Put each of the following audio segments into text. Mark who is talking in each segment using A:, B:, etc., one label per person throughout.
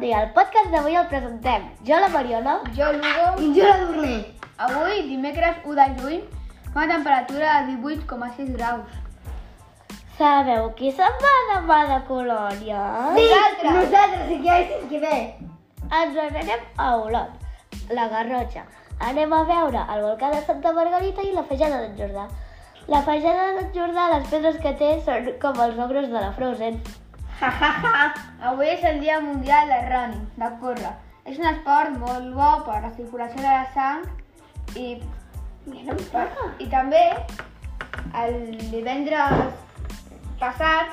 A: dia. El podcast d'avui el presentem jo, la Mariona.
B: Jo, Lugo,
A: I jo, la Dorner.
B: avui, dimecres 1 de juny, fa una temperatura de 18,6 graus.
A: Sabeu qui se'n va demà de colònia?
B: Nosaltres.
A: nosaltres, i qui és qui ve? Ens n'anem a Olot, la Garrotxa. Anem a veure el volcà de Santa Margarita i la fejada d'en Jordà. La fejada d'en Jordà, les pedres que té són com els ogres de la Frozen.
B: Ha, ha, ha. Avui és el Dia Mundial del Running, de córrer. És un esport molt bo per a la circulació de la sang i,
A: Mira,
B: per, i també el divendres passat,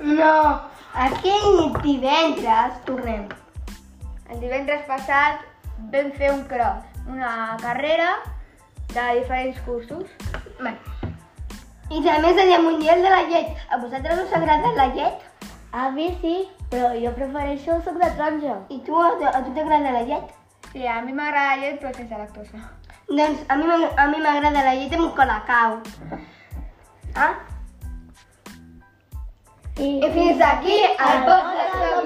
A: No, aquell divendres tornem.
B: el divendres passat vam fer un cross, una carrera de diferents cursos.
A: I també és el Dia Mundial de la Llet. A vosaltres us agrada la llet? A mi sí, però jo prefereixo el suc de taronja. I tu, a, a tu t'agrada la llet?
B: Sí, a mi m'agrada la llet però sense lactosa.
A: Doncs a mi m'ag- a mi m'agrada la llet amb colacau. Ah? I,
B: I fins aquí el podcast d'avui.